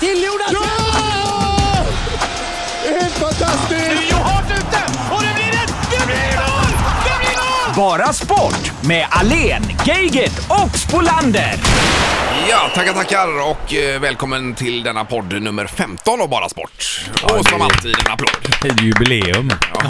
till Jonas! Ja! Det är helt fantastiskt! Rio hårt ute och det blir ett... Det blir mål! Det blir mål! Bara sport med Alen, Geigert och Spolander. Ja, tackar, tackar och eh, välkommen till denna podd nummer 15 av Bara Sport. Och som alltid en applåd. Det är jubileum.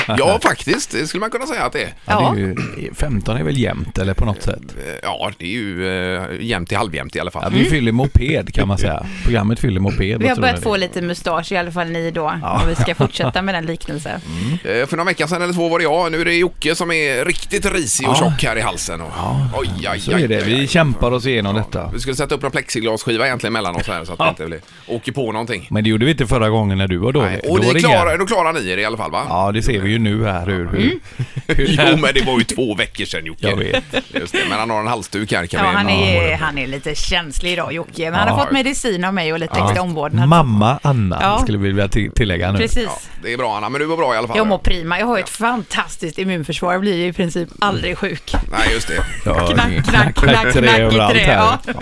Ja, faktiskt, det skulle man kunna säga att det är. Ja. Det är ju, 15 är väl jämnt eller på något sätt. Eh, Ja, det är ju eh, jämnt till halvjämnt i alla fall. Ja, vi fyller moped kan man säga. Programmet fyller moped. Mm. Vi vad har tror börjat ni? få lite mustasch, i alla fall ni då, om vi ska fortsätta med den liknelsen. Eh, För några veckor sedan eller två var det jag. Nu är det Jocke som är riktigt risig och tjock här i halsen. Och... Oj, aj, aj, Så är det. aj, Vi aj. kämpar oss igenom detta. Vi skulle sätta upp en plexiglasskiva egentligen mellan oss här så att det inte blir, åker på någonting. Men det gjorde vi inte förra gången när du var dålig. Nej, Då och var ni det inga- klarar, då klarar ni er i alla fall va? Ja, det ser vi ju nu här hur... hur, Jo men det var ju två veckor sedan Jocke. Jag vet. Just det, men han har en halsduk här kan Ja, vi... han är, han är lite känslig idag, Jocke. Men han har fått medicin av mig och lite extra omvårdnad. Mamma Anna Mm. Ja. skulle vi vilja till- tillägga nu. Ja, Precis. det är bra Anna, men du var bra i alla fall. Jag mår prima. Jag har ju ett fantastiskt immunförsvar. Jag blir ju i princip Mm. aldrig sjuk. Nej, just det. Ja, Knack, knack, knack, trä knack i överallt trä, här. ja. Ja.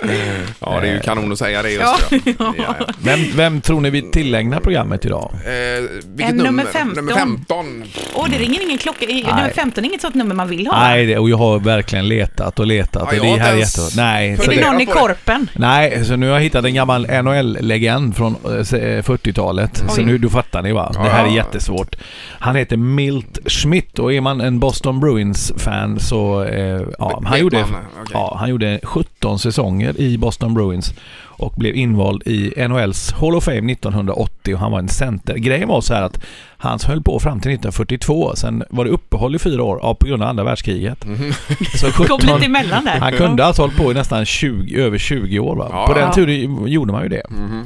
Ja, Eh, det är ju kanon att säga det just Ja. det. Ja, ja. Vem, vem tror ni vi tillägnar programmet idag? Eh, vilket En nummer 15. Nummer 15. Och det ringer ingen klocka. I- Nummer 15 är inget sånt nummer man vill ha. Nej, det, och jag har verkligen letat och letat. Ja, och det jag har är här inte ens jätte... Nej, Är så funderat. det det... någon i på det. korpen? Nej, så nu har jag hittat en gammal NHL-legend från eh, 40-talet. Så Oj. nu, då fattar ni va? Det här är jättesvårt. Han heter Milt Schmidt och är man en Boston Bruins-fan så... Eh, ja, Vet han, gjorde, man, okej. ja, han gjorde 17 säsonger i Boston Bruins och blev invald i NHLs Hall of Fame 1980 och han var en center. Grejen var så här att han höll på fram till 1942. Sen var det uppehåll i fyra år ja, på grund av andra världskriget. Mm. Så 17 Kom lite emellan där. han kunde alltså ha hållit på i nästan 20, över 20 år. Va? Ja. Mhm. på Ja. den tiden gjorde man ju det.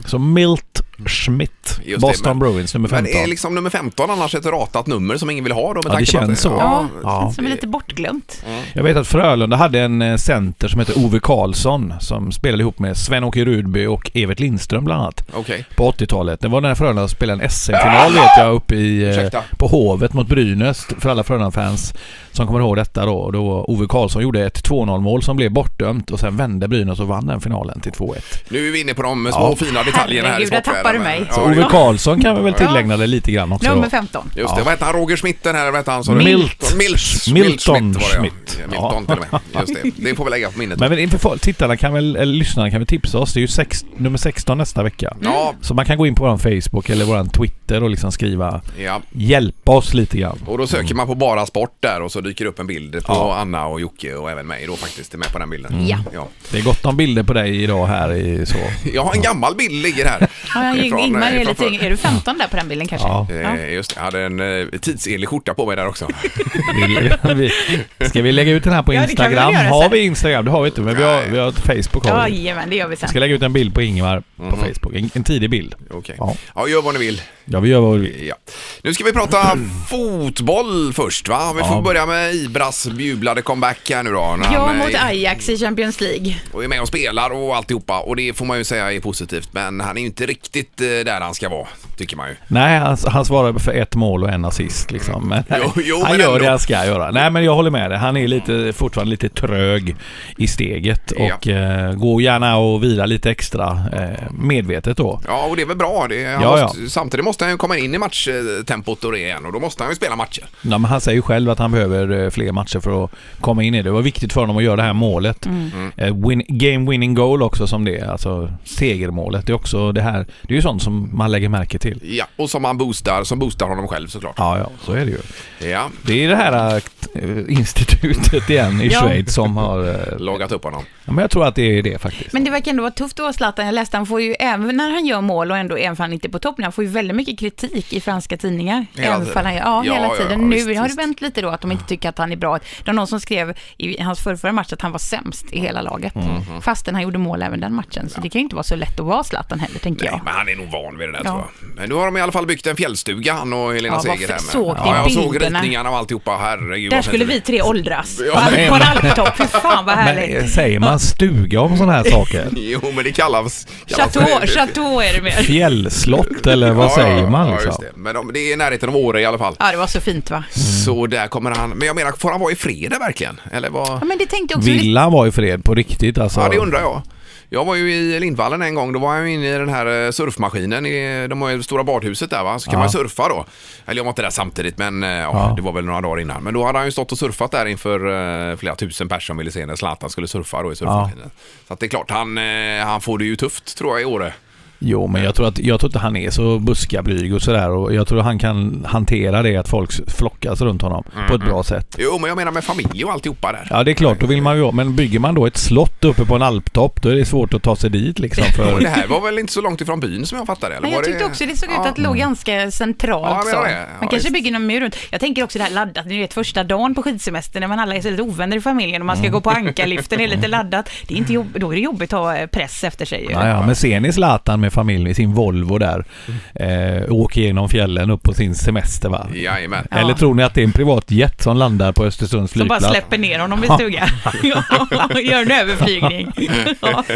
Så Milt Schmidt, det, Boston men- Bruins, nummer Men 15. är liksom nummer 15 annars ett ratat nummer som ingen vill ha då? Med Ja, det tanke på att känns så. Ja, Ja. som är lite bortglömt. liksom- Jag vet att Frölunda hade en eh, center som hette Ove Karlsson som spelade ihop med Sven-Åke Rudby och Evert Lindström bland annat. Okej. På 80-talet. Det var när Frölunda spelade en SM-final vet jag uppe i, Ursäkta. eh, på Hovet mot Brynäs för alla Frölunda-fans som kommer ihåg detta då. Och då Ove Karlsson gjorde ett 2-0 mål som blev bortdömt och sen vände Brynäs och vann den finalen till 2-1. Nu är vi inne på de små fina detaljerna här i Herregud, där sportvärlden. tappar du mig. Ja, Så det- Ove Karlsson kan vi väl tillägna det lite grann också. Nummer 15. Just det, vad hette han? Roger Schmidt den här, vad hette han? sa du? Milt. Milt. Milton Milt Schmidt. Var det, Schmidt. ja. Milton till och med. Just det, det får vi lägga på minnet. Men inför folk- tittarna kan väl, eller lyssnarna kan väl tipsa oss. Det är ju sex, nummer 16 nästa vecka. Mm. Ja, Så man kan gå in på vår Facebook eller vår Twitter och liksom skriva ja. Hjälpa oss lite grann. Och då Mm. söker man på bara sport där och så dyker upp en bild på Anna och Jocke och även mig då faktiskt är med på den bilden. Ja. Ja. Det är gott om bilder på dig idag här i så. Jag har en gammal bild ligger här. Ja, jag- Ifrån, eh, Ingmar är ifrån lite förr. yngre. Är du 15 där på den bilden kanske? Ja. Eh, Just det, jag hade en eh, tidsenlig skjorta på mig där också. Vi- vi- Ska vi lägga ut den här på Ja, det kan vi väl Instagram? göra sen. har vi Instagram? Det har vi inte, men vi har, vi har ett Facebook. Har vi. Jajamän, det gör vi sen. Jag ska lägga ut en bild på Ingvar Mm. på Facebook. En, en tidig bild. Okej. Ja. Ja, gör vad ni vill. Ja, vi gör vad vi vill. Ja. Nu ska vi prata Mm. fotboll först va? Vi får börja med Ibras jublade comeback här nu då. när Ja, han, eh, mot Ajax i Champions League. och är med och spelar och alltihopa och det får man ju säga är positivt men han är ju inte riktigt eh, där han ska vara tycker man ju. Nej, han, han svarar för ett mål och en assist liksom. Men Mm. Jo, jo, han men gör ändå. det han ska göra. Nej, men jag håller med dig. Han är lite, fortfarande lite trög i steget Ja. och eh, går gärna och vila lite extra eh, medvetet då. Ja och det är väl bra. Det, han Ja, måste, Samtidigt måste han ju komma in i matchtempot och det igen och då måste han ju spela matcher. Ja, men han säger ju själv att han behöver eh, fler matcher för att komma in i det. Det var viktigt för honom att göra det här målet. Mm. Eh, win, game winning goal också som det är, alltså segermålet. Det är också det här, det är ju sånt som man lägger märke till. Ja, och som han boostar, som boostar honom själv såklart. Ja, ja, så är det ju. Ja, Det är det här eh, institutet igen i Ja. Schweiz som har eh, lagat upp honom. Ja, men jag tror att det är det faktiskt. Men det verkar ändå vara tufft att vara Zlatan. Jag läste han får ju, även när han gör mål och ändå, även om han inte är på toppen, han får ju väldigt mycket kritik i franska tidningar. Hela även tiden. fall han, ja, Ja, ja, hela ja, tiden. visst, nu har det visst. vänt lite då, att de inte tycker att han är bra. Det var någon som skrev i hans förrförra match att han var sämst i hela laget. Mhm. Fastän han gjorde mål även den matchen. Så det kan ju inte vara så lätt att vara Zlatan heller, tänker Nej, jag. men han är nog van vid det där Ja. tror jag. Men nu har de i alla fall byggt en fjällstuga, han och Helena Ja, vad Seger. här med. såg ni ja, jag såg bilderna? ritningarna och alltihopa, herregud. Där vad skulle vi fint tre åldras. Ja, på en- men- på en alptopp. Fy fan vad Men härligt. eh, säger man stuga om sådana här saker? det blir. Jo, men det kallas... kallas Chateau, chateau är det mer. Fjällslott eller vad Ja, säger man ja, liksom? just det. Men de, det är i närheten av Åre i alla fall. Ja, det var så fint va? Så där kommer han. Men jag menar, får han vara i fredag verkligen? Eller vad? Ja, men det tänkte jag också. Vill han vara i fred på riktigt alltså? Ja, det undrar jag. Jag var ju i Lindvallen en gång, då var jag ju inne i den här eh, surfmaskinen. i- De har ju det stora badhuset där va, så kan man surfa då. Eller jag var inte där samtidigt men eh, ja, det var väl några dagar innan. Men då hade han ju stått och surfat där inför eh, flera tusen personer som ville se när Zlatan skulle surfa då i surfmaskinen. Så att det är klart, han, eh, han får det ju tufft tror jag i Åre. Jo, men jag tror, att, jag tror inte han är så buskablyg och sådär. Och jag tror han kan hantera det att folk flockas runt honom på Mm-hmm. ett bra sätt. Jo men jag menar med familj och alltihopa där. Ja, det är klart. Då vill man ju, men bygger man då ett slott uppe på en alptopp, då är det svårt att ta sig dit liksom. Och För, det här var väl inte så långt ifrån byn som jag fattade? Eller Men var jag tyckte också det såg ut Ja. Mm. att det låg ganska centralt. Ja, men så. det är det. Ja, man kanske visst. bygger någon mur runt. Jag tänker också det här laddat, ni vet första dagen på skidsemestern när man alla är så lite ovänner i familjen och man ska Mm. gå på ankarliften, det är lite laddat. Det är inte jobb, då är det jobbigt att ha eh, press efter sig ju. ja, ja, men ser ni Zlatan med familj i sin Volvo där? Mm. Eh, åker genom fjällen upp på sin semester va? Jajamän. Eller tror ni att det är en privatjet som landar på Östersunds Som bara flygplats? släpper ner honom i stugan. Ja, Gör en överflygning. Ja. Nej,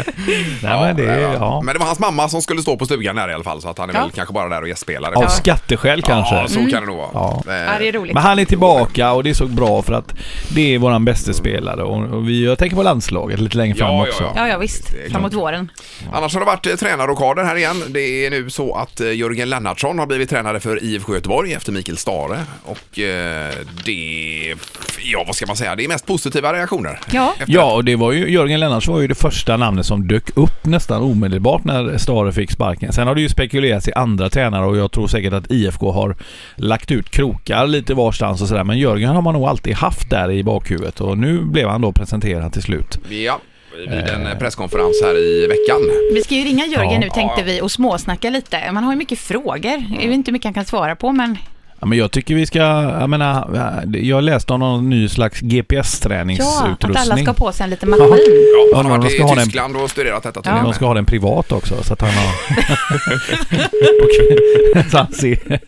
men det, ja. ja. men det var hans mamma som skulle stå på stugan där i alla fall så att han är Ja. väl kanske bara där och gästspelare. Av skatteskäl kanske. Mm. Ja, så Mm. kan det nog vara. Ja. Eh, Ja, det är roligt. Men han är tillbaka och det såg bra för att det är våran bästa spelare och och vi, jag tänker på landslaget lite längre fram Ja, ja, också. ja. Ja, ja visst. är klart. Framåt våren. Annars har det varit eh, tränarrokader här igen. Det är nu så att eh, Jörgen Lennartsson har blivit tränare för IFK Göteborg efter Mikael Stare. Och eh, det... Ja, vad ska man säga? Det är mest positiva reaktioner. Ja. Efter- Ja, och det var ju, Jörgen Lennartsson var ju det första namnet som dök upp nästan omedelbart när Stare fick sparken. Sen har det ju spekulerats i andra tränare och jag tror säkert att IFK har lagt ut krokar lite varstans och sådär. Men Jörgen har man nog alltid haft där i bakhuvudet och nu blev han då presenterad till slut. ja. Vid en eh, presskonferens här i veckan. Vi ska ju ringa Jörgen Ja. nu tänkte vi och småsnacka lite. Man har ju mycket frågor. Jag vet inte hur mycket han kan svara på men Ja, men jag tycker vi ska, jag menar, jag läste om någon ny slags ja, GPS-träningsutrustning. att alla ska ha på sig en liten maskin. men Ja, han har de varit ska i ha den- Tyskland och studerat detta Ja. tydligen. De ska ha den privat också så att han har... Och- så han ser.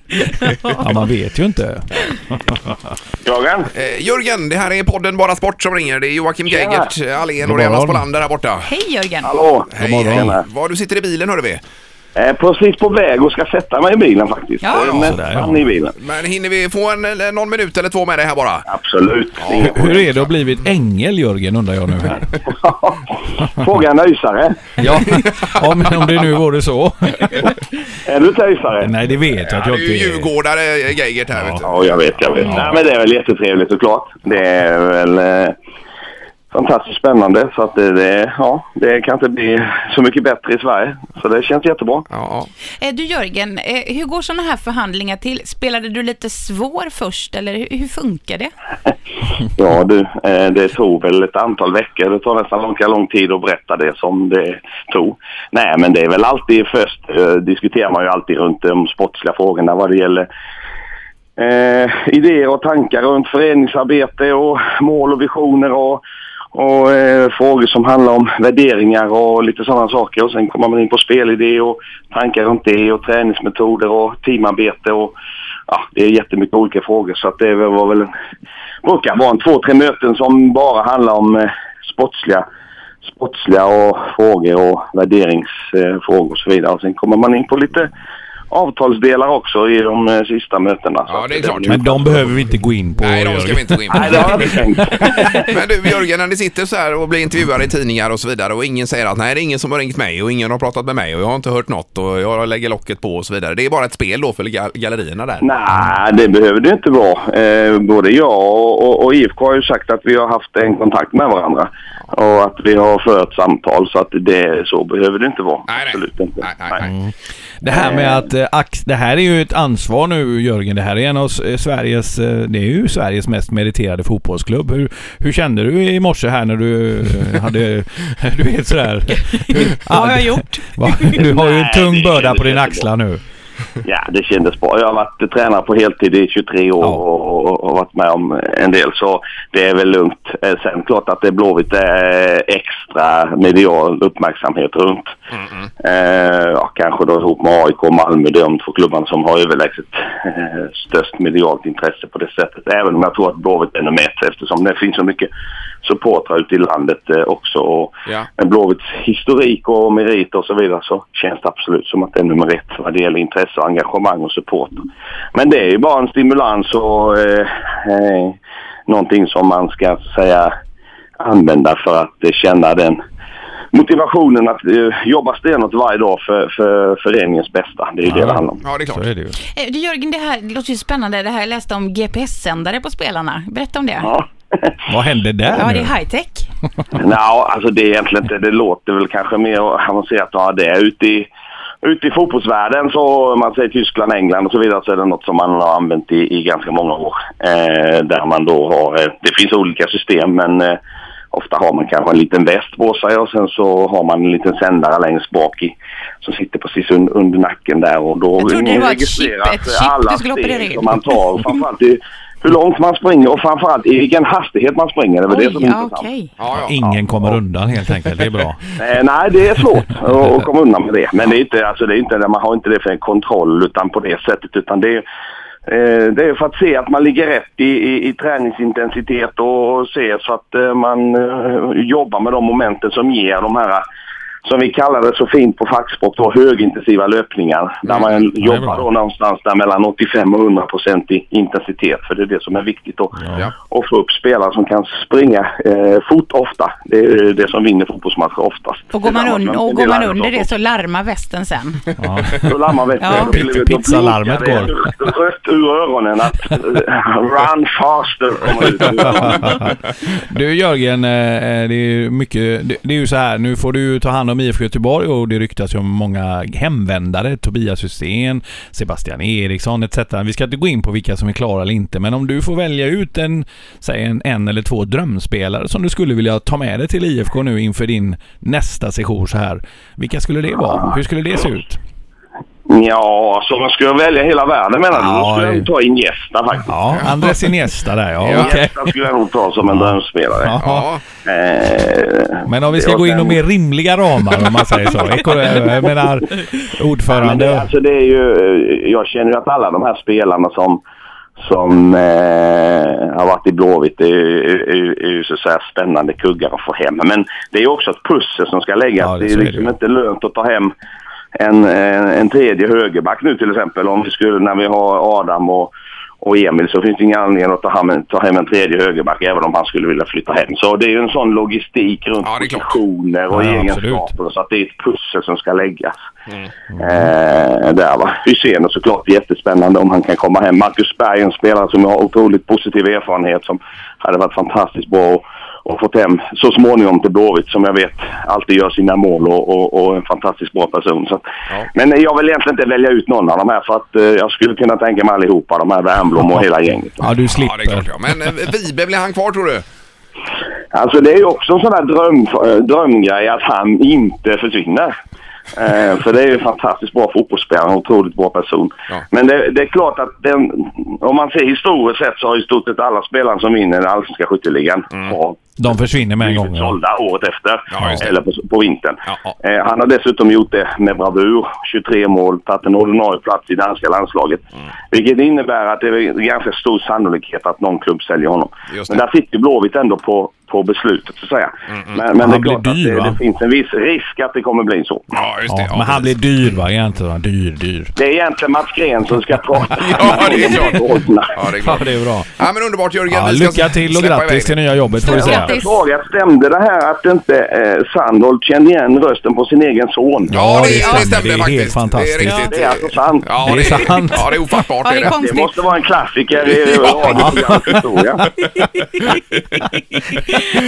Ja, man vet ju inte. Jörgen? Eh, Jörgen, det här är podden Bara Sport som ringer. Det är Joakim Geigert, eh, Allén och God Renas morgon. Bolander där borta. Hej Jörgen! Hallå? Hej, morgon. hej. Var du sitter i bilen hörde vi. Eh, precis på väg och ska sätta mig i bilen faktiskt. Ja, Eh, ja, Nästan sådär, ja. i bilen. Men hinner vi få en, eller någon minut eller två med dig här bara? Absolut. Hur- Hur är det att blivit ängel Jörgen undrar jag nu här. Fråga en ösare. Ja, ja men om det nu vore så. Är du inte ösare? Nej det vet jag att Ja, jag det är ju inte är. djurgårdare eh, Geigert här vet du. Ja, jag vet, jag vet. Nej, men det är väl jättetrevligt såklart. Det är väl eh, fantastiskt spännande. Så att det, det, ja, det kan inte bli så mycket bättre i Sverige. Så det känns jättebra. Ja, Eh, Du Jörgen, eh, hur går sådana här förhandlingar till? Spelade du lite svår först eller hur, hur funkar det? Ja du, eh, det tog väl ett antal veckor. Det tar nästan långa lång tid att berätta det som det tog. Nej men det är väl alltid först eh, diskuterar man ju alltid runt de sportsliga frågorna vad det gäller eh, idéer och tankar runt föreningsarbete och mål och visioner och, och eh, frågor som handlar om värderingar och lite sådana saker. Och sen kommer man in på spelidé och tankar runt det och träningsmetoder och teamarbete och ja, det är jättemycket olika frågor så att det var väl en, brukar vara en två, tre möten som bara handlar om eh, sportsliga sportsliga och frågor och värderingsfrågor och så vidare. Och sen kommer man in på lite avtalsdelar också i de eh, sista mötena. Ja, det är klart. Men de behöver vi inte gå in på Nej, de ska vi Jörgen. inte gå in på. Nej, det har jag inte tänkt. Men du Jörgen, när ni sitter så här och blir intervjuade i tidningar och så vidare och ingen säger att nej, det är ingen som har ringt mig och ingen har pratat med mig och jag har inte hört något och jag lägger locket på och så vidare. Det är bara ett spel då för ga- gallerierna där. Nej, det behöver det inte vara. Eh, både jag och, och, och IFK har ju sagt att vi har haft en kontakt med varandra och att vi har fört samtal så att det så behöver det inte vara. nej. Absolut inte. Nej, nej, nej. Mm. Det här med att eh, ax- det här är ju ett ansvar nu Jörgen. Det här är en av s- eh, Sveriges, eh, det är ju Sveriges mest meriterade fotbollsklubb. Hur, hur kände du i morse här när du eh, hade, du vet sådär. Vad har jag gjort? Va? Du har ju en Nej, tung det börda kändes på dina jättebra. axlar nu. Ja, det kändes bra. Jag har varit tränare på heltid i 23 år Ja. och, och, och varit med om en del så det är väl lugnt. Eh, Sen klart att det är Blåvitt eh, extra medial uppmärksamhet runt. Eh, ja, kanske då ihop med AIK och Malmö, det är de två klubbarna som har överlägset eh, störst medialt intresse på det sättet. Även om jag tror att Blåvitt är nummer ett eftersom det finns så mycket supportrar ute i landet eh, också. Och Ja. med Blåvitts historik och merit och så vidare så känns det absolut som att det är nummer ett vad det gäller intresse, och engagemang och support. Men det är ju bara en stimulans och eh, eh, någonting som man ska säga använda för att eh, känna den motivationen att eh, jobba stenhårt varje dag för, för föreningens bästa. Det är ju det det handlar om. Ja, det är Så klart. är det ju. Eh, Du Jörgen, det här låter ju spännande. Det här jag läste om GPS-sändare på spelarna. Berätta om det. Ja, Ja. Vad hände där nu? det är high tech. Nej, alltså det är egentligen inte. Det låter väl kanske mer avancerat att ha det. Ute i, ute i fotbollsvärlden, så, om man säger Tyskland, England och så vidare, så är det något som man har använt i, i ganska många år. Eh, där man då har, eh, det finns olika system men eh, ofta har man kanske en liten väst på sig och sen så har man en liten sändare längst bak i som sitter precis un, under nacken där och då Jag trodde det var ett registreras chip, ett chip alla du skulle operera in. steg som man tar och framförallt i, hur långt man springer och framförallt i vilken hastighet man springer. Det är väl det som är ja, intressant. okej. Ja, ja. Ingen kommer undan helt enkelt. Det är bra. Eh, nej, det är svårt att- att komma undan med det. Men det är inte, alltså, det är inte, man har inte det för en kontroll utan på det sättet. Utan det, är, eh, det är för att se att man ligger rätt i, i, i träningsintensitet och, och se så att eh, man eh, jobbar med de momenten som ger de här som vi kallar det så fint på facksport, då, högintensiva löpningar. Där man jobbar då någonstans där mellan 85 och 100 procent i intensitet. För det är det som är viktigt då. Ja. Och få upp spelare som kan springa eh, fort ofta. Det är eh, det som vinner fotbollsmatcher oftast. Och går man, Tillsammans un- med och en går del man andra under det saker. så larmar västen sen. Då larmar vi. Ja. Då kliver vi ut och Pizzalarmet blinkar. Det är Rött ur öronen att eh, run faster kommer ut. Du Jörgen, eh, eh, det är ju mycket... Det det är ju så här, nu får du ju ta hand om IFK Göteborg och det ryktas ju om många hemvändare. Tobias Hysén, Sebastian Eriksson etc. Vi ska inte gå in på vilka som är klara eller inte, men om du får välja ut en, säg en, en eller två drömspelare som du skulle vilja ta med dig till IFK nu inför din nästa session så här. Vilka skulle det vara? Hur skulle det se ut? Ja, så man skulle välja hela världen menar du? Då Ja, skulle jag nog ta in gästa faktiskt. Ja, Andres Iniesta där ja. Ja. Okej. Gästa skulle jag nog ta som en drömspelare. Ja. Ja, Eh, Men om vi ska det var gå in i den- mer rimliga ramar om man säger så. Eko- eh, Jag menar Men det, ordförande. alltså det är ju, eh, jag känner ju att alla de här spelarna som, som eh, har varit i Blåvitt är, är, är, är ju så att säga spännande kuggar att få hem. Men det är ju också ett pussel som ska läggas. Ja, det- det, så är är liksom det ju. inte lönt att ta hem en, en, en tredje högerback nu till exempel. Om vi skulle, när vi har Adam och och Emil så finns det ingen anledning att ta hem, en- ta hem en tredje högerback även om han skulle vilja flytta hem. Så det är ju en sån logistik runt Ja, det är klart. positioner och Ja, ja, absolut. egenskaper och så att det är ett pussel som ska läggas. Eh, där va. Hysén är såklart jättespännande om han kan komma hem. Marcus Berg är en spelare som jag har otroligt positiv erfarenhet som hade varit fantastiskt bra och, och fått hem så småningom till Blåvitt som jag vet alltid gör sina mål och, och, och är en fantastiskt bra person. Så. att- Men jag vill egentligen inte välja ut någon av de här för att eh, jag skulle kunna tänka mig allihopa, de här Wernbloom och hela gänget. Ja, du ja det är klart slipper. ja. Men eh, Vibe, blir han kvar tror du? Alltså det är ju också en sån här dröm, eh, drömgrej att han inte försvinner. Eh, för det är ju en fantastiskt bra fotbollsspelare, en otroligt bra person. Ja. Men det, det är klart att den, om man ser historiskt sett så har i stort sett alla spelare som vinner den allsvenska skytteligan har De försvinner med en gång. blivit Ja. sålda året efter. Ja, just det. eller på, på vintern. Ja, ja. Eh, han har dessutom gjort det med bravur. 23 mål, tagit en ordinarie plats i danska landslaget. Mm. Vilket innebär att det är ganska stor sannolikhet att någon klubb säljer honom. Just Men det. Mm, där sitter Blåvitt ändå på, på beslutet så att säga. Men, men Han det är blir klart dyr, att det, va? det finns en viss risk att det kommer bli så. Ja, just det. Ja, men han blir precis. dyr va? Är han inte va? Dyr, dyr. Det är egentligen Mats Gren som ska prata. Ja, det är klart. Ja, det är Ja, klart. det är bra. Ja, men underbart Jörgen. Ja, Vi ska lycka till och släppa grattis iväg till dig. nya jobbet får vi säga. Grattis. Fråga, stämde det här att inte eh, Sandholt kände igen rösten på sin egen son? Ja, det, Ja, ja, det det stämmer. Det är stämde faktiskt. helt fantastiskt. Det är riktigt. Det är alltså sant. Ja, Det är sant. Ja, det är ofattbart. Ja, det det är det. kom- Det måste vara en klassiker i radioprogrammets historia.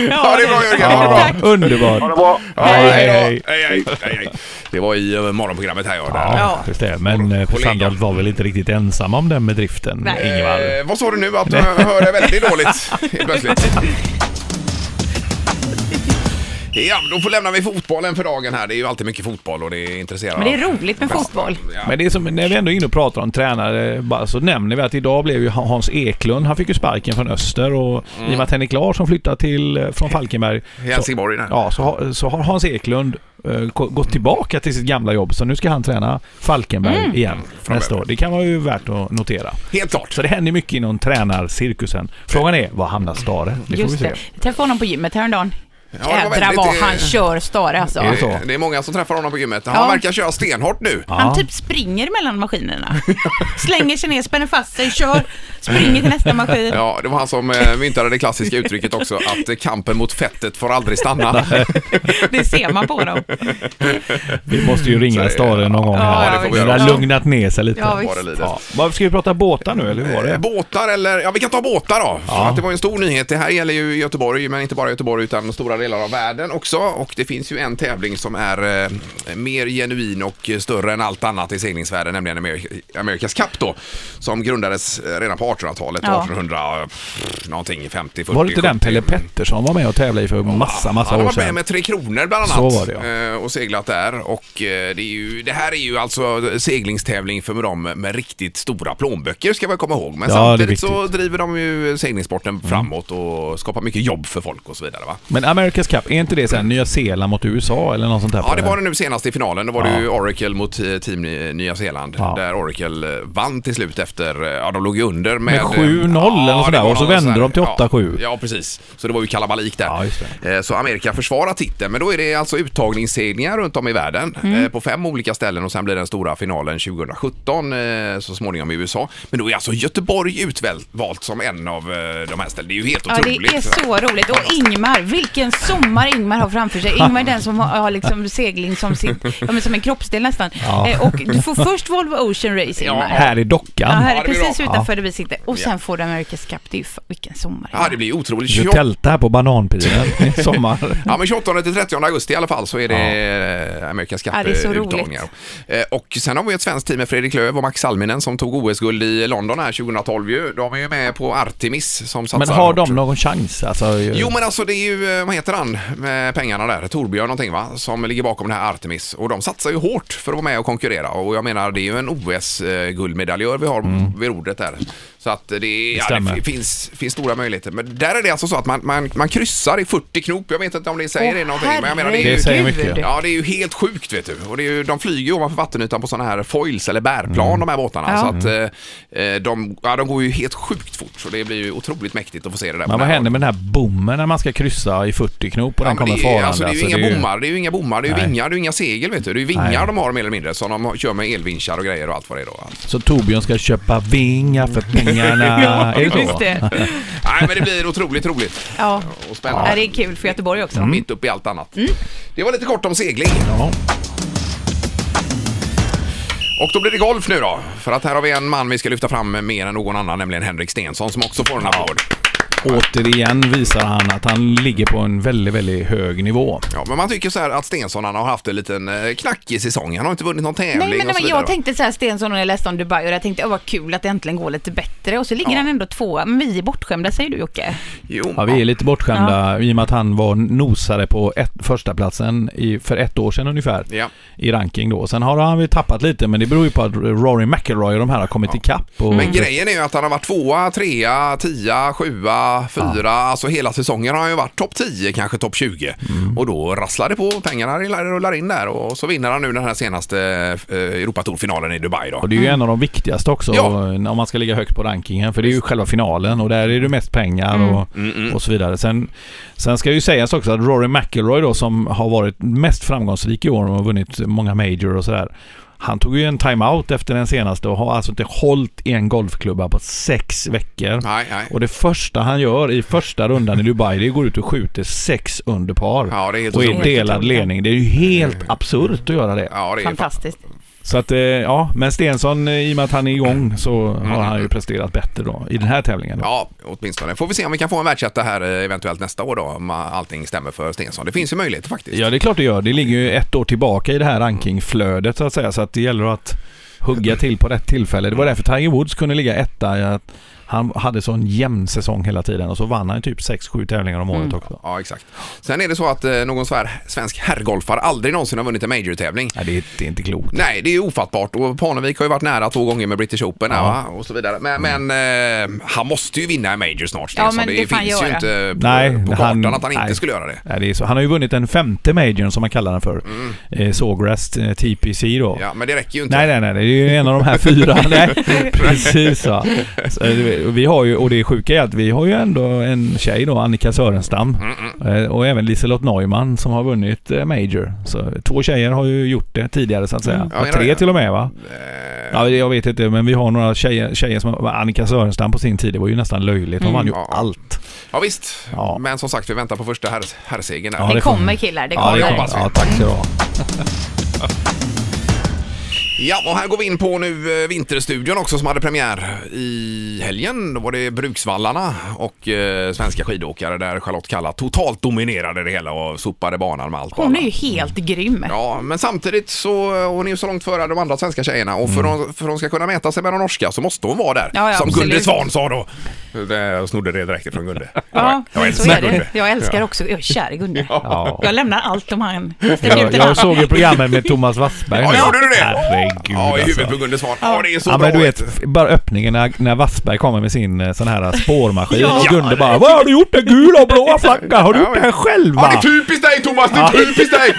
Ja, det är bra Jörgen. Ha det bra. Ja, underbart. Ha det bra. Ja, Hej, hej, då. hej. hej, hej, hej, hej. Det var i eh, morgonprogrammet här ja. Där. Ja, just det. Men eh, Kollega. Sandholt var väl inte riktigt ensam om den med driften, Nej. Ingvar? Eh, vad sa du nu? Att du hör dig väldigt dåligt helt plötsligt. Ja, då får lämna vi fotbollen för dagen här. Det är ju alltid mycket fotboll och det är intresserande. Men det är roligt med fotboll. Ja. Men det är som, när vi ändå är inne och pratar om tränare, bara så nämner vi att idag blev ju Hans Eklund, han fick ju sparken från Öster och i och Mm. med att Henrik Larsson flyttade till, eh, från Falkenberg. Helsingborg E- där. Så, ja, så, har- så har Hans Eklund eh, gå- gått tillbaka till sitt gamla jobb, så nu ska han träna Falkenberg Mm. igen nästa år. Det kan vara ju värt att notera. Helt klart. Så det händer mycket inom tränarcirkusen. Frågan är, var hamnar Stare? Det får vi Just se. det. Jag träffade honom på gymmet häromdagen. det var Jädrar väldigt, vad eh, han kör stare alltså. Är det så? Det är många som träffar honom på gymmet. Han Ja. verkar köra stenhårt nu. Han typ springer mellan maskinerna. Slänger sig ner, spänner fast sig, kör, springer till nästa maskin. Ja, det var han som eh, myntade det klassiska uttrycket också, att eh, kampen mot fettet får aldrig stanna. Det ser man på dem. Vi måste ju Så, ringa eh, Stare någon gång. ja, här. det får vi Den göra. har lugnat ner sig lite. Ja, Vad det lider. Ja. Varför ska vi prata båtar nu, eller hur var Eh, det? Båtar eller, ja vi kan ta båtar då. För att det var ju en stor nyhet. Det här gäller ju Göteborg, men inte bara Göteborg utan stora delar av världen också. Och det finns ju en tävling som är eh, mer genuin och eh, större än allt annat i seglingsvärlden, nämligen Ameri- Amerikas Cup då. Som grundades eh, redan på 1800-talet, Ja. 1800 eh, pff, någonting, 50, 40, Var det inte den 70. Pelle Pettersson var med och tävlade i för massa, massa Han år har varit med sedan? med Tre Kronor bland annat Så var det, ja. eh, och seglat där. Och eh, det, är ju, det här är ju alltså seglingstävling för dem med riktigt stora plånböcker ska man komma ihåg. Men Ja, det är samtidigt så viktigt. Mm. driver de ju seglingsporten framåt och skapar mycket jobb för folk och så vidare. Va? Men America's Cup, är inte det sen Nya Zeeland mot USA eller något sånt där? Ja, det på var det nu senast i finalen. Då var det Eh. Ja. ju Oracle mot eh, Team Ny- Nya Zeeland. Ja. Där Oracle eh, vann till slut efter, eh, ja de låg ju under med... eh, Med 7-0 eller något det sådär, var och så någon vände sån här- de till 8-7. Ja, ja, precis. Så det var ju kalabalik där. Ja, just Eh, Så Amerika försvarar titeln, men då är det alltså uttagningsseglingar runt om i världen Mm. eh, på fem olika ställen och sen blir den stora finalen 2017 eh, så småningom i USA. Men då är alltså Göteborg utvalt som en av eh, de här ställena. Det är ju helt Ja, det otroligt. är så roligt. Och Ingmar, vilken sommar Ingmar har framför sig. Ingmar är den som har, har liksom segling som, sin, ja, men som en kroppsdel nästan. Eh, Och du får först Volvo Ocean Race, Ja. Ingmar. Här i Ja, dockan. här Ja, är det blir precis bra. utanför där vi sitter. Och sen får du America's Cup. Det är ju fa- vilken sommar. Ja, det blir otroligt. Du 28 tältar här på bananpiren i sommar. Ja, men 28 till 30 augusti i alla fall så är det eh, Amerikas Ja, det är så Cup-uttagningar. Eh, Och sen har vi ett svenskt team med Fredrik Lööf och Max Salminen som tog OS-guld i London här 2012 ju. De är ju med på Artemis som satsar Men har de hårt. någon chans? Alltså, Jo men alltså det är ju, eh, vad heter han med pengarna där, Torbjörn någonting va, som ligger bakom det här Artemis. Och de satsar ju hårt för att vara med och konkurrera och jag menar det är ju en OS-guldmedaljör vi har vid rodret där. Så att det, är- ja, det Mm. stämmer. fi- finns, finns stora möjligheter. Men där är det alltså så att man, man, man kryssar i 40 knop, jag vet inte om det säger Åh, det någonting. Men jag menar, det, är ju, Det säger mycket. Ja, det är ju helt sjukt vet du. Och det är ju, de flyger ju ovanför vattenytan på sådana här foils eller bärplan Mm. de här båtarna. Ja. Så att eh, eh, de, ja, de går ju helt sjukt fort så det blir ju otroligt mäktigt att få se det där. på Men vad nära håll. händer med den här bommen när man ska kryssa i 40 knop och den Ja, men kommer det är- farande? Alltså, det är ju inga ju- bommar, det är ju inga bommar, det är ju Nej. vingar, det är ju inga segel vet du. Det är ju vingar Nej. de har mer eller mindre som de kör med elvinschar och grejer och allt vad det är då. Alltså. Så Torbjörn ska köpa vingar för pengarna. är det så? Just det. Nej men det blir otroligt roligt Ja. och ja, det spännande. är Mm. kul för Göteborg också. Mitt upp i allt annat. Det var lite kort om segling. Ja. Och då blir det golf nu då. För att här har vi en man vi ska lyfta fram mer än någon annan, nämligen Henrik Stensson som också får en applåd. Återigen visar han att han ligger på en väldigt, väldigt hög nivå. Ja, men man tycker så här att Stensson han har haft en liten eh, knackig säsong. Han har inte vunnit någon tävling Nej, och men så det var, vidare. jag tänkte så här Stensson och jag läste om Dubai och jag tänkte, åh vad kul att det äntligen går lite bättre. Och så ligger han ändå tvåa, men vi är bortskämda säger du Jocke. Jo, Ja, vi är lite bortskämda i och med att han var nosare på ett, första platsen i, för ett år sedan ungefär Ja. i ranking då. Sen har han väl tappat lite men det beror ju på att Rory McIlroy och de här har kommit ikapp. Och, Men grejen är ju att han har varit tvåa, trea, tia, sjua, fyra. Alltså hela säsongen har han ju varit topp 10, kanske topp 20. Mm. Och då rasslar det på, pengarna rullar, rullar in där och så vinner han nu den här senaste eh, Europatourfinalen i Dubai då. och det är ju en av de viktigaste också Ja. om man ska ligga högt på rankingen för det är ju själva finalen och där är det mest pengar och, Mm, och så vidare. Sen, sen ska ju sägas också att Rory McIlroy då som har varit mest framgångsrik i år och har vunnit många major och sådär. Han tog ju en timeout efter den senaste och har alltså inte hållit i en golfklubba på sex veckor. Nej, nej. Och det första han gör i första rundan i Dubai, det är att gå ut och skjuter sex under par. Ja, det är helt och i otroligt. Mm. delad ledning. Det är ju helt absurt att göra det. Ja, det är fan- Fantastiskt. Så att, eh, ja, men Stensson, eh, i och med att han är igång så har han ju presterat bättre då i den här tävlingen. Då. Ja, åtminstone. Får vi se om vi kan få en världsetta här eh, eventuellt nästa år då, om eh, allting stämmer för Stensson. Det finns ju möjligheter faktiskt. Ja, det är klart det gör. Det ligger ju ett år tillbaka i det här rankingflödet så att säga. Så att det gäller att hugga till på rätt tillfälle. Det var därför Tiger Woods kunde ligga etta. i att Han hade sån jämn säsong hela tiden och så vann han ju typ 6-7 tävlingar om året också. Ja, exakt. Sen är det så att eh, någon svär, svensk herrgolfare aldrig någonsin har vunnit en major-tävling. Ja, det, är, det är inte klokt. Nej, det är ju ofattbart och Parnevik har ju varit nära två gånger med British Open här, va? och så vidare. Men, Mm. men eh, han måste ju vinna en major snart. Ja, Stensson. men det får han finns ju göra. inte på, Nej, på kartan han- att han inte nej. skulle göra det. Nej, det är så. Han har ju vunnit den femte majorn som man kallar den för. Eh, Sawgrass eh, TPC då. Ja, men det räcker ju inte. Nej, nej, nej, det är ju en av de här fyra. nej, precis. Ja. Så, eh, eh, vi har ju, och det sjuka är att vi har ju ändå en tjej då, Annika Sörenstam. Mm, Eh, Och även Liselott Neumann som har vunnit eh, Major. Så två tjejer har ju gjort det tidigare så att säga. Mm, Ja, menar Eh. Tre det. till och med va? Ja, jag vet inte, men vi har några tjejer, tjejer som... Annika Sörenstam på sin tid, det var ju nästan löjligt. Hon vann ju Mm. Ja. allt. Ja, visst. Ja. Men som sagt, vi väntar på första herr- herrsegern där. Ja, Det det får- kommer killar, det Ja, kommer. det kommer. hoppas vi. Ja, tack ska du ha. Ja, och här går vi in på nu eh, Vinterstudion också som hade premiär i helgen. Då var det Bruksvallarna och eh, svenska skidåkare där Charlotte Kalla totalt dominerade det hela och sopade banan med allt på Hon är alla. ju helt grym. Ja, men samtidigt så eh, hon är ju så långt före de andra svenska tjejerna och för, hon, för hon ska kunna mäta sig med de norska så måste hon vara där. Ja, ja, som absolut. Gunde Svan sa då. Det- Jag snodde det direkt ifrån Gunde. Ja, jag men så älskar är det. Gunde. Jag älskar också, jag är kär i Gunde. Ja. Jag lämnar allt om han ställer Jag, ut en annan. jag såg ju programmet med Thomas Wassberg. Ja, nu. gjorde du det? Herregud Ja, i huvudet alltså. på Gunde Svan. Ja, det är så Ja bra. men du vet, bara öppningen när, när Wassberg kommer med sin eh, sån här spårmaskin Ja. och Gunde bara Vad har du gjort den gula och blåa flaggan? Har du Ja, gjort den men- typ. själv Ja, det va? är typiskt dig Thomas! Det är typiskt dig!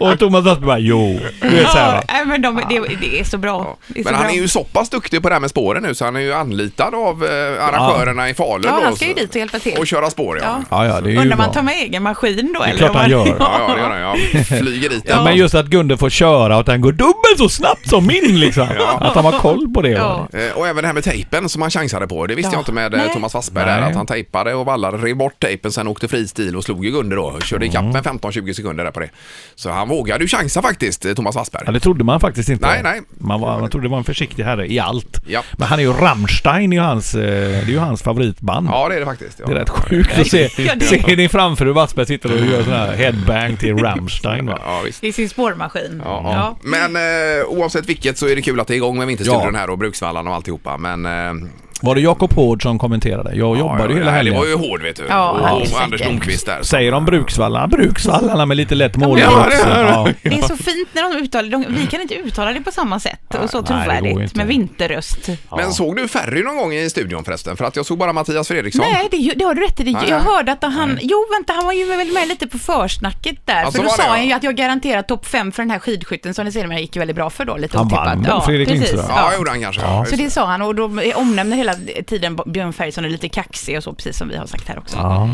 Och Thomas Wassberg bara Jo. Du vet så här, va? Ja, nej, men de, det, det är så bra. Det är så Men han bra. är ju så pass duktig på det här med spåren nu så han är ju anlitad av eh, arrangörerna i Falun Ja, då, han ska ju så- dit och hjälpa till. Och köra spår ja. Ja. Ja, Ja ja, det är ju Undrar om han bra. tar med egen maskin då? Det klart han gör. ja, det gör han. Ja. Flyger dit. Ja, men just att Gunde får köra och att han går dubbelt så snabbt som min liksom. Att han har koll på det. Ja. Eh, Och även det här med tejpen som han chansade på. Det visste Ja. jag inte med eh, Nej. Thomas Wassberg Nej. där. Att han tejpade och vallade, rev bort tejpen, sen åkte fristil och slog ju Gunde då. Körde Mm. ikapp med 15-20 sekunder där på det. Så han vågade ju chansa faktiskt, eh, Thomas Wassberg. Ja, det trodde man faktiskt inte. Nej, nej. Man, var, man trodde det var en försiktig herre i allt. Ja. Men han är ju Rammstein, är ju hans, eh, det är ju hans favoritband. Ja, det är det faktiskt. Ja. Det är rätt sjukt att se, Ja, det- se ni framför hur Wassberg sitter och gör sån här headbang till Rammstein va? Ja, visst. I sin spårmaskin. Ja, Mm. ja. Men eh, oavsett vilket så är det kul att det är igång med Vinterstudion Ja. här och Bruksvallarna och alltihopa. Men eh, Var det Jakob Hård som kommenterade? Jag jobbade ju hela nej, helgen. Det var ju hård vet du. Ja, och, han är och säker. Anders Blomqvist där. Säger de Bruksvallarna? Bruksvallarna med lite lätt målning Ja, det också. gör Ja. Det är så fint när de uttalar de, Vi kan inte uttala det på samma sätt och så Nej, det går trovärdigt inte. med vinterröst. Men såg du Ferry någon gång i studion förresten? För att jag såg bara Mattias Fredriksson. Nej, det, det har du rätt i. Det- Nej. Jag hörde att han... Jo, vänta, han var ju väl med lite på försnacket där. Ja, så för då var det, sa ja. han ju att jag garanterar topp fem för den här skidskytten som det sedermera gick ju väldigt bra för då, lite Han otippat. vann väl, Fredrik precis. Lindström? Ja, gjorde han kanske. Ja. Så det sa han och då omnämner hela tiden Björn Ferry är lite kaxig och så, precis som vi har sagt här också. Ja.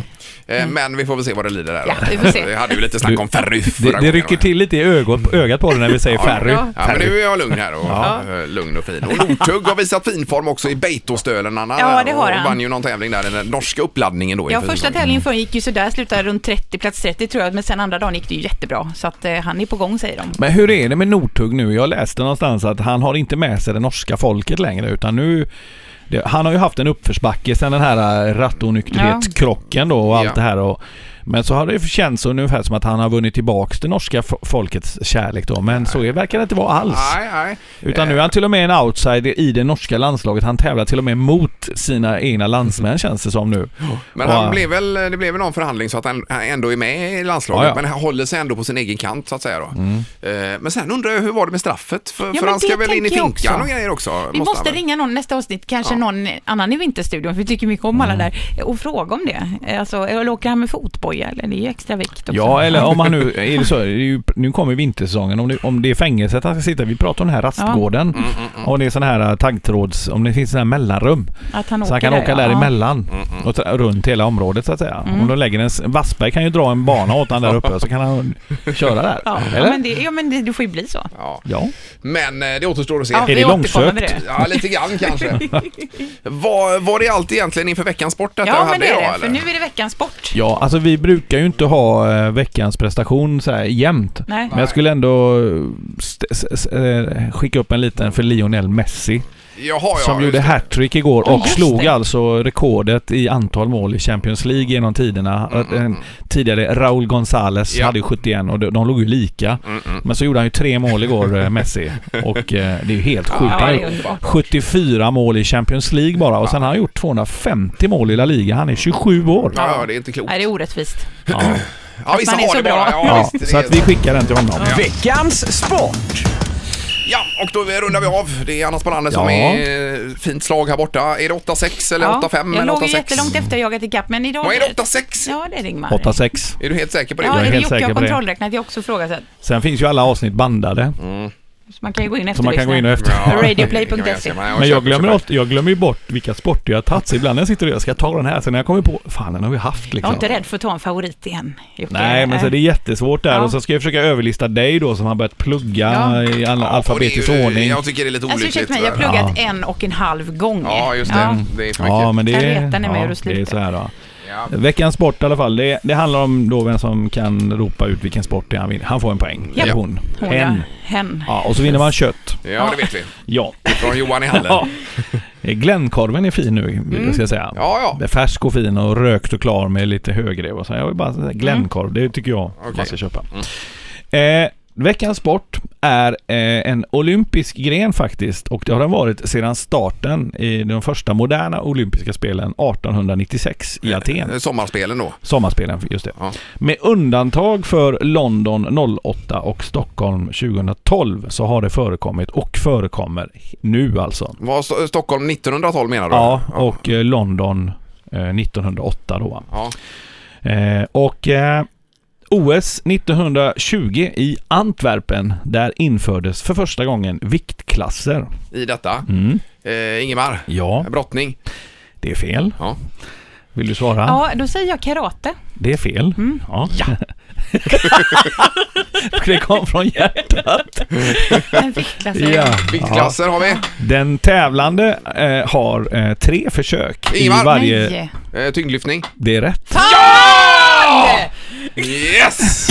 Eh, Men vi får väl se vad det lider där. Mm. Ja, vi får se. Jag hade ju lite snack om Ferry förra Det, det gången. rycker till lite i ögat, ögat på det när vi säger Ferry. Ja. Ja, men nu är jag lugn här och eh, lugn och fin. Och Nordtug har visat fin form också i Beitostölen. Anna, Ja, det har och han. vann ju någon tävling där, den norska uppladdningen då. Ja, inför första säsongen. tävlingen för gick ju sådär, slutade runt 30, plats 30 tror jag, men sen andra dagen gick det ju jättebra. Så att eh, han är på gång säger de. Men hur är det med Northug nu? Jag läste någonstans att han har inte med sig det norska folket längre utan nu... Det, han har ju haft en uppförsbacke sedan den här eh, rattonykterhetskrocken då och allt Ja. det här och... Men så har det känts ungefär som att han har vunnit tillbaks det norska fo- folkets kärlek då men så är, verkar det inte vara alls. Nej, nej. Utan nu är han till och med en outsider i det norska landslaget. Han tävlar till och med mot sina egna landsmän känns det som nu. Mm. Men Och han blev väl, det blev väl någon förhandling så att han han ändå är med i landslaget. Ja, Mm. ja. Men han håller sig ändå på sin egen kant så att säga då. Eh, Men sen undrar jag hur var det med straffet? För, för men han ska det väl in i tänker jag finkan också. och grejer också? Vi måste han väl? ringa någon nästa avsnitt, kanske någon annan i Vinterstudion, för vi tycker mycket om alla Mm. där, och fråga om det. Alltså, eller åker han med fotboja? Eller det är ju extra vikt också. Ja, eller om han nu... Är det så, det är ju, nu kommer vintersäsongen. Om det, om det är fängelset han ska sitta Vi pratar om den här rastgården. Mm, Och det är sån här äh, taggtråds... Om det finns sån här mellanrum. Att han så han åker kan där, åka ja. Mm, däremellan. Och tra- runt hela området så att säga. Om de lägger en... s- Wassberg kan ju dra en bana åt han där uppe så kan han köra där. Ja, ja, Eller? men, det, ja men det, det får ju bli så. Ja. Ja. Men eh, det återstår att se. Ja, Ja, det vi återkommer långsökt? med det. lite grann kanske. Var, var det allt egentligen inför veckans sport detta Ja, hade men det idag, är det, för eller? nu är det veckans sport. Ja, alltså vi brukar ju inte ha eh, veckans prestation så här jämt. Nej. Men jag skulle ändå eh, st- s- s- eh, skicka upp en liten för Lionel Messi. Jaha, ja, som just gjorde det. hattrick igår och just slog det. alltså rekordet i antal mål i Champions League genom tiderna. Den Tidigare Raúl González Mm, Ja. Mm, hade ju 71 och de, de låg ju lika. Men så gjorde han ju tre mål igår, eh, Messi. Och eh, det är ju helt sjukt. Ja, Han har det är gjort underbart. 74 mål i Champions League bara och sen har han gjort 250 mål i La Liga. Han är 27 år. Ja, ja, det är inte klokt. Nej, det är orättvist. Ja, vissa man är har så det bara. bra. Ja, Ja, visst, det så är att vi skickar den till honom. Veckans sport. Ja, och då rundar vi av. Det är Anna Spolander som Ja. är eh, fint slag här borta. Är det 8-6 eller 8-5 jag eller låg ju 8-6? jättelångt efter och jagat ikapp, men idag... Vad är det, 8-6? Ja, det är Ringmar. 8-6. Är du helt säker på det? Ja, Jag är är det helt Jocke säker har på det. kontrollräknat? Jag har också frågat. Mm. Sen finns ju alla avsnitt bandade. Så man kan ju gå in efter Så man kan gå in och efter. Radioplay.se. Men jag glömmer, alltid, jag glömmer ju bort vilka sporter jag har tagit. Så ibland när jag sitter och jag ska ta den här, sen när jag kommer på, fan den har vi haft Jag liksom. är inte rädd för att ta en favorit igen. Jocke. Nej, men så det är jättesvårt där. Ja. Och så ska jag försöka överlista dig då som har börjat plugga Ja. i all, Ja, och alfabetisk det är ju- ordning. Jag tycker det är lite Alltså olyckligt. ursäkta mig, jag har tyvärr. pluggat en och en halv gång. Ja, just det. Det är för mycket. Ja, men det Jag är, retar ni med hur ja, du det är sliter. så här då. Ja. Veckans sport i alla fall. Det, det handlar om då vem som kan ropa ut vilken sport det är han vill. Han får en poäng. Ja. Eller hon. Hon, en. ja. Hen. Ja, och så vinner man kött. Ja, det vet vi. Ja. Från Johan i hallen. ja. Glenkorven är fin nu, ska jag säga. Mm. Ja, ja. Det är Färsk och fin och rökt och klar med lite högrev och så. Jag vill bara säga Glenkorv, Mm. det tycker jag man ska köpa. Eh, veckans sport är eh, en olympisk gren faktiskt och det har den varit sedan starten i de första moderna olympiska spelen 1896 i Aten. Eh, Sommarspelen då. Sommarspelen, just det. Ja. Med undantag för London 08 och Stockholm 2012 så har det förekommit och förekommer nu alltså. Var Sto- Stockholm 1912 menar du? Ja, och eh, London eh, 1908 då. va. Ja. Eh, och eh, OS 1920 i Antwerpen, där infördes för första gången viktklasser. I detta. Mm. Eh, Ingemar. Ja, Brottning. det är fel. Ja. Vill du svara? Ja, Mm. då säger jag karate. Det är fel. Ja. det kom från hjärtat. En fickla säger jag. Viktklasser har vi. Den tävlande eh, har eh, tre försök Ingvar. i varje... Nej. Eh, tyngdlyftning. Det är rätt. Yes!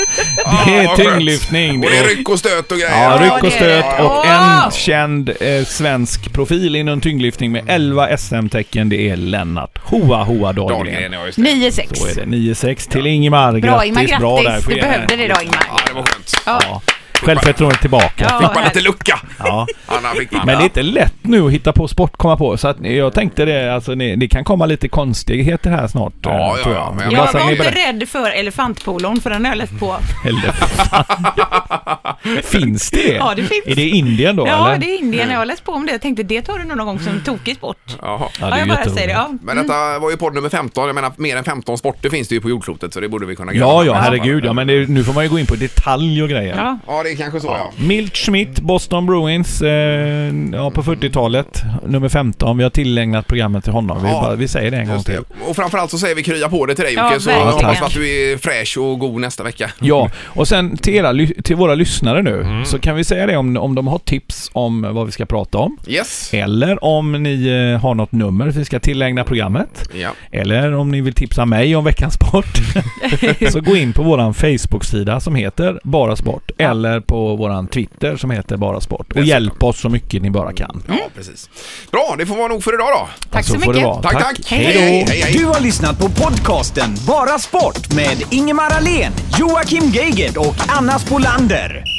det är vad skönt. tyngdlyftning. Och det är ryck och stöt och grejer. Ja, Ja, ryck och det är stöt det. och Åh! en känd eh, svensk profil inom tyngdlyftning med 11 SM-tecken. Det är Lennart Hoa Hoa Dahlgren, Dahlgren. ja just det. 9-6. Då är det 9-6 till Ingemar. Grattis, Bra Ingmar, bra där, grattis. Du Skene. behövde det idag Ingmar. Ja, det var skönt. Ja. Självförtroendet tillbaka. Fick man lite härligt. lucka? Ja. Anna fick man. Men det är inte lätt nu att hitta på sport, komma på. Så att jag tänkte det, alltså ni, det kan komma lite konstigheter här snart. eh, Ja, ja, tror ja, jag. men jag. jag- bara Jag så att var ni inte beredd- rädd för elefantpolon för den har jag läst på. Eller fan. Finns det? Ja, det finns. Är det Indien då Ja, eller? Mm. det är Indien. Jag har läst på om det. Jag tänkte det tar du nog någon gång som tokig sport. Jaha. Ja, Ja, det är jag bara jätteroligt. säger det. Ja. Men detta var ju podd nummer 15. Jag menar, mer än 15 sporter finns det ju på jordklotet så det borde vi kunna Ja, ja, herregud. Ja, men det, nu får man ju gå in på detalj och grejer. Ja. Ja, det är kanske så ja. Milt Schmidt, Boston Bruins, eh, ja, på 40-talet, nummer 15. Vi har tillägnat programmet till honom. Vi, Ja. bara, vi säger det en gång Just till. det. Och framförallt så säger vi krya på det till dig Ja, Jocke, så jag verkligen. hoppas att du är fräsch och god nästa vecka. Ja, och sen till, era, ly- till våra lyssnare nu Mm. så kan vi säga det om, om de har tips om vad vi ska prata om. Yes. Eller om ni eh, har något nummer vi ska tillägna programmet. Ja. Eller om ni vill tipsa mig om veckans sport. så gå in på våran Facebook-sida som heter Bara Sport. Eller på våran Twitter som heter Bara Sport. Och hjälp oss så mycket ni bara kan. ja, precis. Bra, det får vara nog för idag då. Tack så Så får det mycket. vara. Tack, tack. Tack. Hej då. Hej, hej, hej. Du har lyssnat på podcasten Bara Sport med Ingemar Ahlén, Joakim Geigert och Anna Spolander.